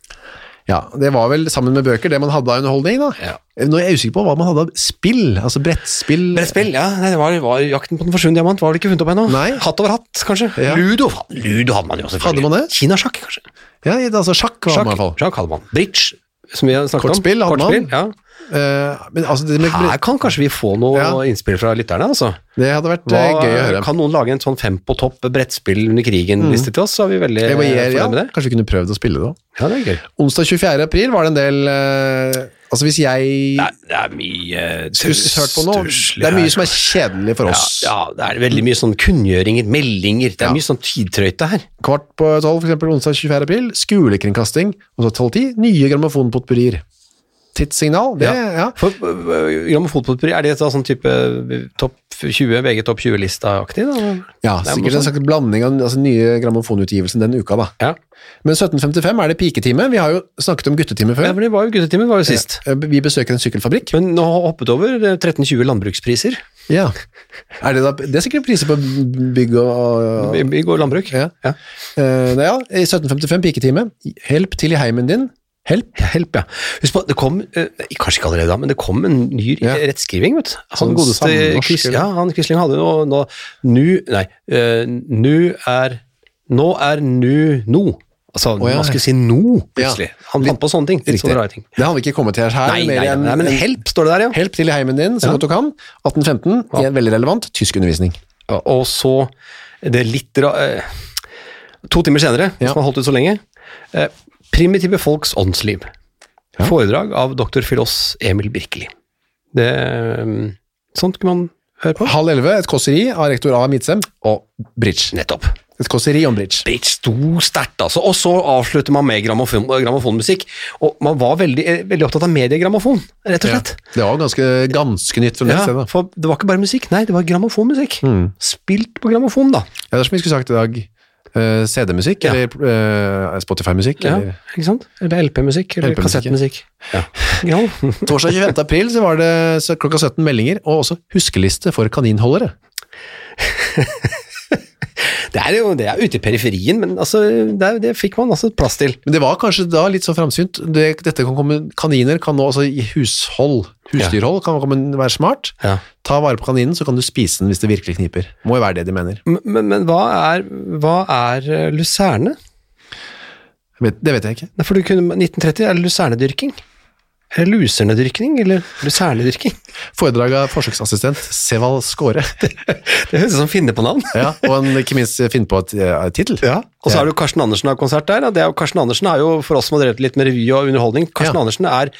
A: Ja, det var vel sammen med bøker det man hadde av underholdning, da. Eh,
B: Ja.
A: Nå er jeg usikker på hva man hadde av spill, altså brettspill.
B: Brettspill, ja. Nei, det var, var Jakten på den forsvunne diamant var vel ikke funnet opp ennå?
A: Nei.
B: Hatt over hatt, kanskje.
A: Ja.
B: Ludo. faen, Ludo hadde man jo
A: Hadde
B: selvfølgelig.
A: man det?
B: Kinasjakk, kanskje.
A: Ja, altså sjakk var det i hvert fall.
B: Sjakk hadde man. Bridge, som vi har snakket
A: Kortspill
B: om.
A: hadde man.
B: ja.
A: Eh, men altså, det, med,
B: Her kan kanskje vi få noe
A: Ja.
B: innspill fra lytterne, altså.
A: det hadde vært
B: Hva,
A: eh, gøy å høre.
B: Kan noen lage en sånn fem på topp brettspill under krigen-liste til oss, så er vi veldig
A: Jeg må gi-
B: fornøyd
A: ja,
B: Eh, med det.
A: Kanskje vi kunne prøvd å spille det òg.
B: Ja, det er gøy.
A: Onsdag 24. april var det en del eh, Altså hvis jeg
B: Det er, det er mye
A: skulle
B: tus-
A: hørt på noe,
B: tusler
A: det er
B: her.
A: mye som er kjedelig for
B: ja,
A: oss.
B: ja, det er veldig mye sånn kunngjøringer, meldinger. Det er
A: Ja.
B: mye sånn tidtrøyte her.
A: Kvart på tolv, for eksempel onsdag 24. april, skolekringkasting, og så tolv ti, nye grammofonpotpurrier. Tidssignal, det,
B: Ja.
A: ja.
B: For øh, Grammofotpotpurri, er det da sånn type øh, topp 20, VG topp 20-lista-aktig? da?
A: Ja,
B: Det
A: sikkert
B: er noe
A: en
B: sånt.
A: slags blanding av den altså, nye grammofonutgivelsen den uka, da.
B: Ja.
A: Men 17.55 er det piketime. Vi har jo snakket om guttetime
B: ja,
A: før. Eh,
B: for det var jo guttetimen var jo sist.
A: Vi besøker en sykkelfabrikk.
B: Men nå har jeg hoppet over det er 1320 landbrukspriser.
A: Ja. Er det, da, det er sikkert priser på bygg og, og
B: Vi vi går landbruk.
A: Ja.
B: Ja.
A: Eh, nei, ja, i 1755 piketime. Help til i heimen din. Help.
B: Help, ja. Husk på, det kom, eh, kanskje ikke allerede da, men det kom en ny
A: Ja.
B: rettskriving, vet du. Han
A: Sånn
B: godeste
A: samnorsk,
B: Chris,
A: eller?
B: ja, han Quisling hadde nå, nå, nu, nei, eh, nu er, nå er nu, no. Altså,
A: Å, ja.
B: man skulle si no,
A: Ja.
B: plutselig. Han fant på sånne ting,
A: Riktig.
B: sånne rare ting.
A: Det har vi ikke kommet til her.
B: Nei, nei,
A: mer
B: nei,
A: enn-
B: nei, men help står det der, ja.
A: Help til i heimen din, så
B: Ja.
A: godt du kan. 1815,
B: Ja.
A: igjen veldig relevant, tyskundervisning.
B: Og- Og så det litt ra... eh, To timer senere,
A: Ja.
B: som har holdt ut så lenge. eh, Primitive folks åndsliv.
A: Ja.
B: Foredrag av doktor filos Emil Birkeli. Det, eh, sånt kunne man høre på.
A: Halv elleve, et kåseri av rektor A. Midtsem. Og bridge.
B: Nettopp.
A: Et kåseri om bridge.
B: Det sto sterkt, altså. Og så avslutter man med grammofon, grammofonmusikk. Og man var veldig, eh, veldig opptatt av mediegrammofon, rett og slett.
A: Det var ganske, ganske nytt fra det
B: Ja,
A: stedet.
B: for det var ikke bare musikk, nei, det var grammofonmusikk.
A: Mm.
B: Spilt på grammofon, da.
A: Ja, det er som vi skulle sagt i dag, eh, CD-musikk,
B: Ja.
A: eller eh, Spotify-musikk.
B: Ja,
A: eller-
B: ikke sant? Eller LP-musikk, eller
A: LP-musikk, ja.
B: kassettmusikk. Ja. Ja.
A: Torsdag 25. april så var det så- klokka 17 meldinger, og også huskeliste for kaninholdere.
B: Det er jo det er ute i periferien, men altså, det, er, det fikk man altså plass til.
A: Men det var kanskje da litt så framsynt. Det, dette kan komme, kaniner kan nå også i hushold, husdyrhold, kan komme, være smart.
B: Ja.
A: Ta vare på kaninen, så kan du spise den hvis det virkelig kniper. Må jo være det de mener.
B: Men, men, men hva, er, hva er eh, luserne?
A: Jeg vet- Det vet jeg ikke.
B: Nei, For du kunne, 1930 er det lusernedyrking. Eller lusernedyrkning, eller lusernedyrking.
A: Foredrag av forsøksassistent Seval Skåre.
B: Det høres ut som finne på navn.
A: Ja, og en, ikke minst finne på et eh, tittel.
B: Og så er det jo Karsten Andersen har konsert der. da. Det er jo, Karsten Andersen er jo, for oss som har drevet litt med revy og underholdning, Karsten
A: Ja.
B: Andersen er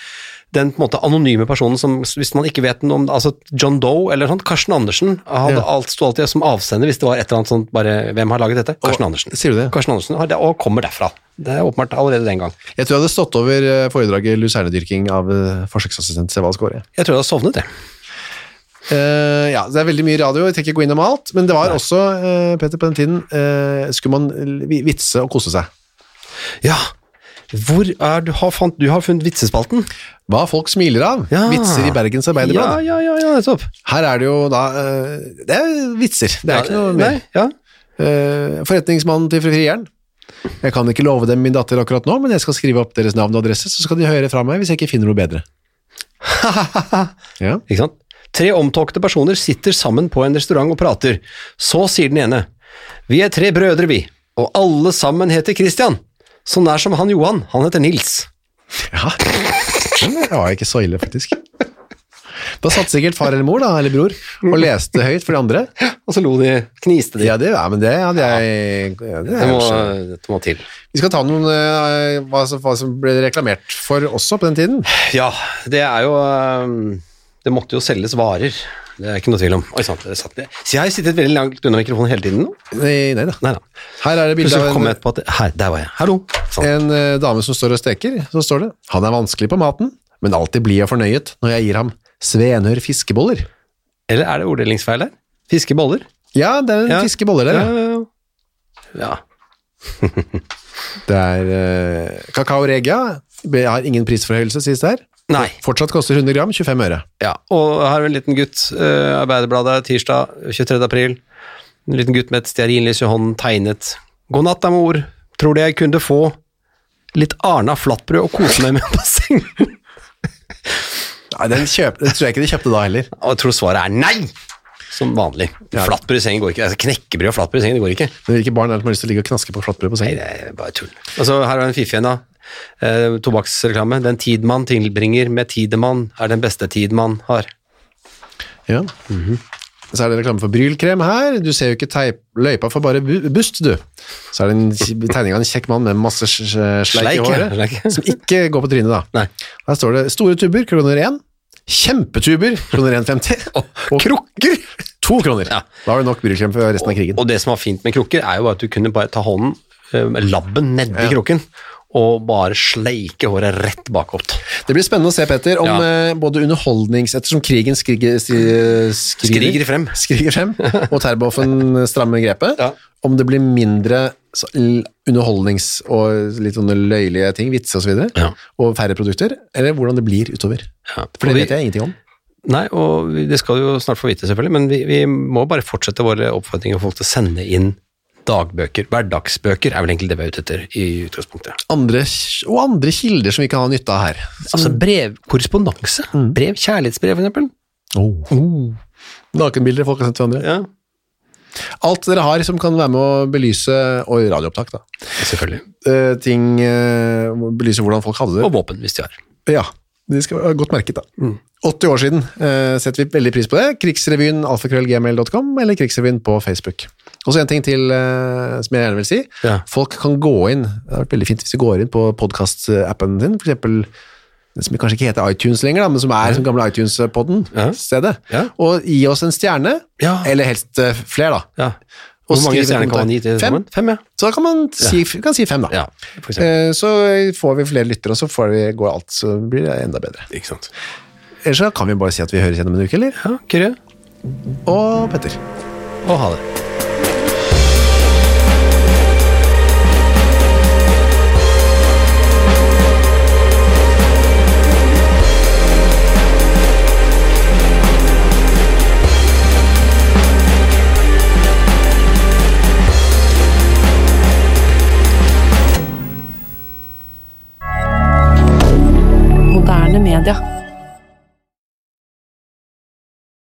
B: den på en måte anonyme personen som, hvis man ikke vet noe om altså John Doe eller sånt, Karsten Andersen hadde
A: Ja.
B: alt, sto alltid som avsender hvis det var et eller annet sånt bare, hvem har laget dette? Karsten Andersen.
A: Sier du det?
B: Karsten Andersen har det, og kommer derfra. Det er åpenbart allerede den gang.
A: Jeg tror jeg hadde stått over eh, foredraget Lusernedyrking av eh, forsøksassistent Seval Skåre.
B: Jeg tror jeg har sovnet, jeg.
A: Eh, ja, det er veldig mye radio, jeg tenker ikke gå innom alt, men det var også, eh, Peter, på den tiden, eh, skulle man eh, vi- vitse og kose seg.
B: Ja. Hvor er du har, fant, du har funnet vitsespalten?
A: Hva folk smiler av,
B: Ja.
A: vitser i Bergens
B: Ja,
A: Arbeiderblad.
B: ja, ja, ja, nettopp.
A: Her er det jo da, eh, det er vitser, det er ikke noe mer.
B: Nei, ja.
A: Eh, forretningsmannen til frieren. Jeg kan ikke love dem min datter akkurat nå, men jeg skal skrive opp deres navn og adresse, så skal de høre fra meg hvis jeg ikke finner noe bedre. ja.
B: Ikke sant? Tre omtåkte personer sitter sammen på en restaurant og prater. Så sier den ene Vi er tre brødre, vi, og alle sammen heter Christian. Så nær som han Johan, han heter Nils.
A: ja. Den var ikke så ille, faktisk. Da satt sikkert far eller mor, da, eller bror, og leste høyt for de andre.
B: Og så lo de, kniste de.
A: Ja, det, ja men det hadde jeg ja, det
B: det, må,
A: er,
B: dette må til.
A: Vi skal ta noen eh, hva, som, hva som ble reklamert for også på den tiden.
B: Ja, det er jo ehm, Det måtte jo selges varer. Det er ikke noe tvil om. Oi, sant, det satt det. Så jeg har sittet veldig langt unna mikrofonen hele tiden nå.
A: Nei, nei da.
B: Nei da.
A: Her er det bilde
B: Plutselig
A: av
B: kom
A: en,
B: jeg på at det, her, der var jeg. Hallo. Sånn.
A: en eh, dame som står og steker, så står det Han er vanskelig på maten, men alltid blid og fornøyet når jeg gir ham Svenør fiskeboller.
B: Eller er det orddelingsfeil der? Fiskeboller?
A: Ja, det er en
B: Ja.
A: fiskeboller der, ja.
B: ja, ja. ja.
A: Det er eh, kakao regia. Jeg har ingen prisforhøyelse, sies det her.
B: Nei.
A: Fortsatt koster 100 gram, 25 øre.
B: Ja. Og her er en liten gutt. eh, Arbeiderbladet, tirsdag 23. april. En liten gutt med et stearinlys i hånden, tegnet. God natt, da, mor. Tror du jeg kunne få litt Arna flatbrød og kose meg med på sengen?
A: Nei, den, kjøp, den tror jeg ikke de kjøpte da heller.
B: Og jeg tror svaret er nei! Som vanlig. Flatbrød i sengen går ikke. Altså, knekkebrød og flatbrød i sengen, det går ikke.
A: Men hvilke barn er det som har lyst til å ligge og knaske på flatbrød på
B: Nei,
A: sengen?
B: det er bare tull. Altså, her er en fiffig en, da. Eh, tobakksreklame. Den tid man tilbringer med tidemann, er den beste tid man har.
A: Ja. Så er det reklame for brylkrem her. Du ser jo ikke teip, løypa for bare bu bust, du. Så er det en ki- tegning av en kjekk mann med masse sj- sj- sleik i
B: Sleik, ja,
A: håret,
B: sleik.
A: som ikke går på trynet, da.
B: Nei.
A: Her står det store tuber, kroner 1. Kjempetuber, kroner 1,50. Og krukker! To kroner.
B: Ja.
A: Da har du nok brylkrem for resten av krigen.
B: Og det som var fint med krukker, er jo bare at du kunne bare ta hånden, eh, med labben nedi
A: Ja.
B: krukken, og bare sleike håret rett bakopp.
A: Det blir spennende å se, Petter, om
B: Ja.
A: eh, både underholdnings... Ettersom krigen skriger, skri-
B: Skriger frem.
A: skriger frem, og Terboven strammer grepet,
B: Ja.
A: om det blir mindre så- l- underholdnings- og litt sånne løyelige ting, vitser og så videre,
B: Ja.
A: og færre produkter, eller hvordan det blir utover.
B: Ja.
A: For det vet jeg ingenting om.
B: Nei, og vi- det skal du jo snart få vite, selvfølgelig, men vi, vi må bare fortsette våre oppfordringer for folk til å sende inn dagbøker. Hverdagsbøker er vel egentlig det vi er ute etter i utgangspunktet.
A: Andre, og andre kilder som vi kan ha nytte av her.
B: Altså brev, korrespondanse. Brev, kjærlighetsbrev, for eksempel.
A: Oh. Nakenbilder folk har sendt til hverandre.
B: Ja,
A: Alt dere har som kan være med å belyse, og radioopptak da,
B: selvfølgelig.
A: Eh, ting, eh, belyse hvordan folk hadde det.
B: Og våpen, hvis de har.
A: Ja, de skal være godt merket da.
B: Mm.
A: 80 år siden eh, setter vi veldig pris på det. Krigsrevyen alfakrøllgmail.com eller krigsrevyen på Facebook. Og så en ting til eh, som jeg gjerne vil si.
B: Ja.
A: Folk kan gå inn, det har vært veldig fint hvis de går inn på podcast-appen din, for eksempel den som kanskje ikke heter iTunes lenger, da, men som er som gamle iTunes-podden
B: Ja.
A: stedet.
B: Ja.
A: Og gi oss en stjerne,
B: Ja.
A: eller helst eh, flere da.
B: Ja.
A: Og
B: Hvor mange
A: skriv en
B: stjerner kan man gi til
A: kommentar.
B: sammen? Fem, ja.
A: Så da kan man si, kan si fem da.
B: ja for eksempel.
A: Eh, Så får vi flere lyttere, og så får vi, går alt, så blir det enda bedre.
B: Ikke sant.
A: Ellers så kan vi bare si at vi høres igjen om en uke, eller?
B: Ja, Kyrre.
A: Og Petter.
B: Og ha det.
H: Moderne media.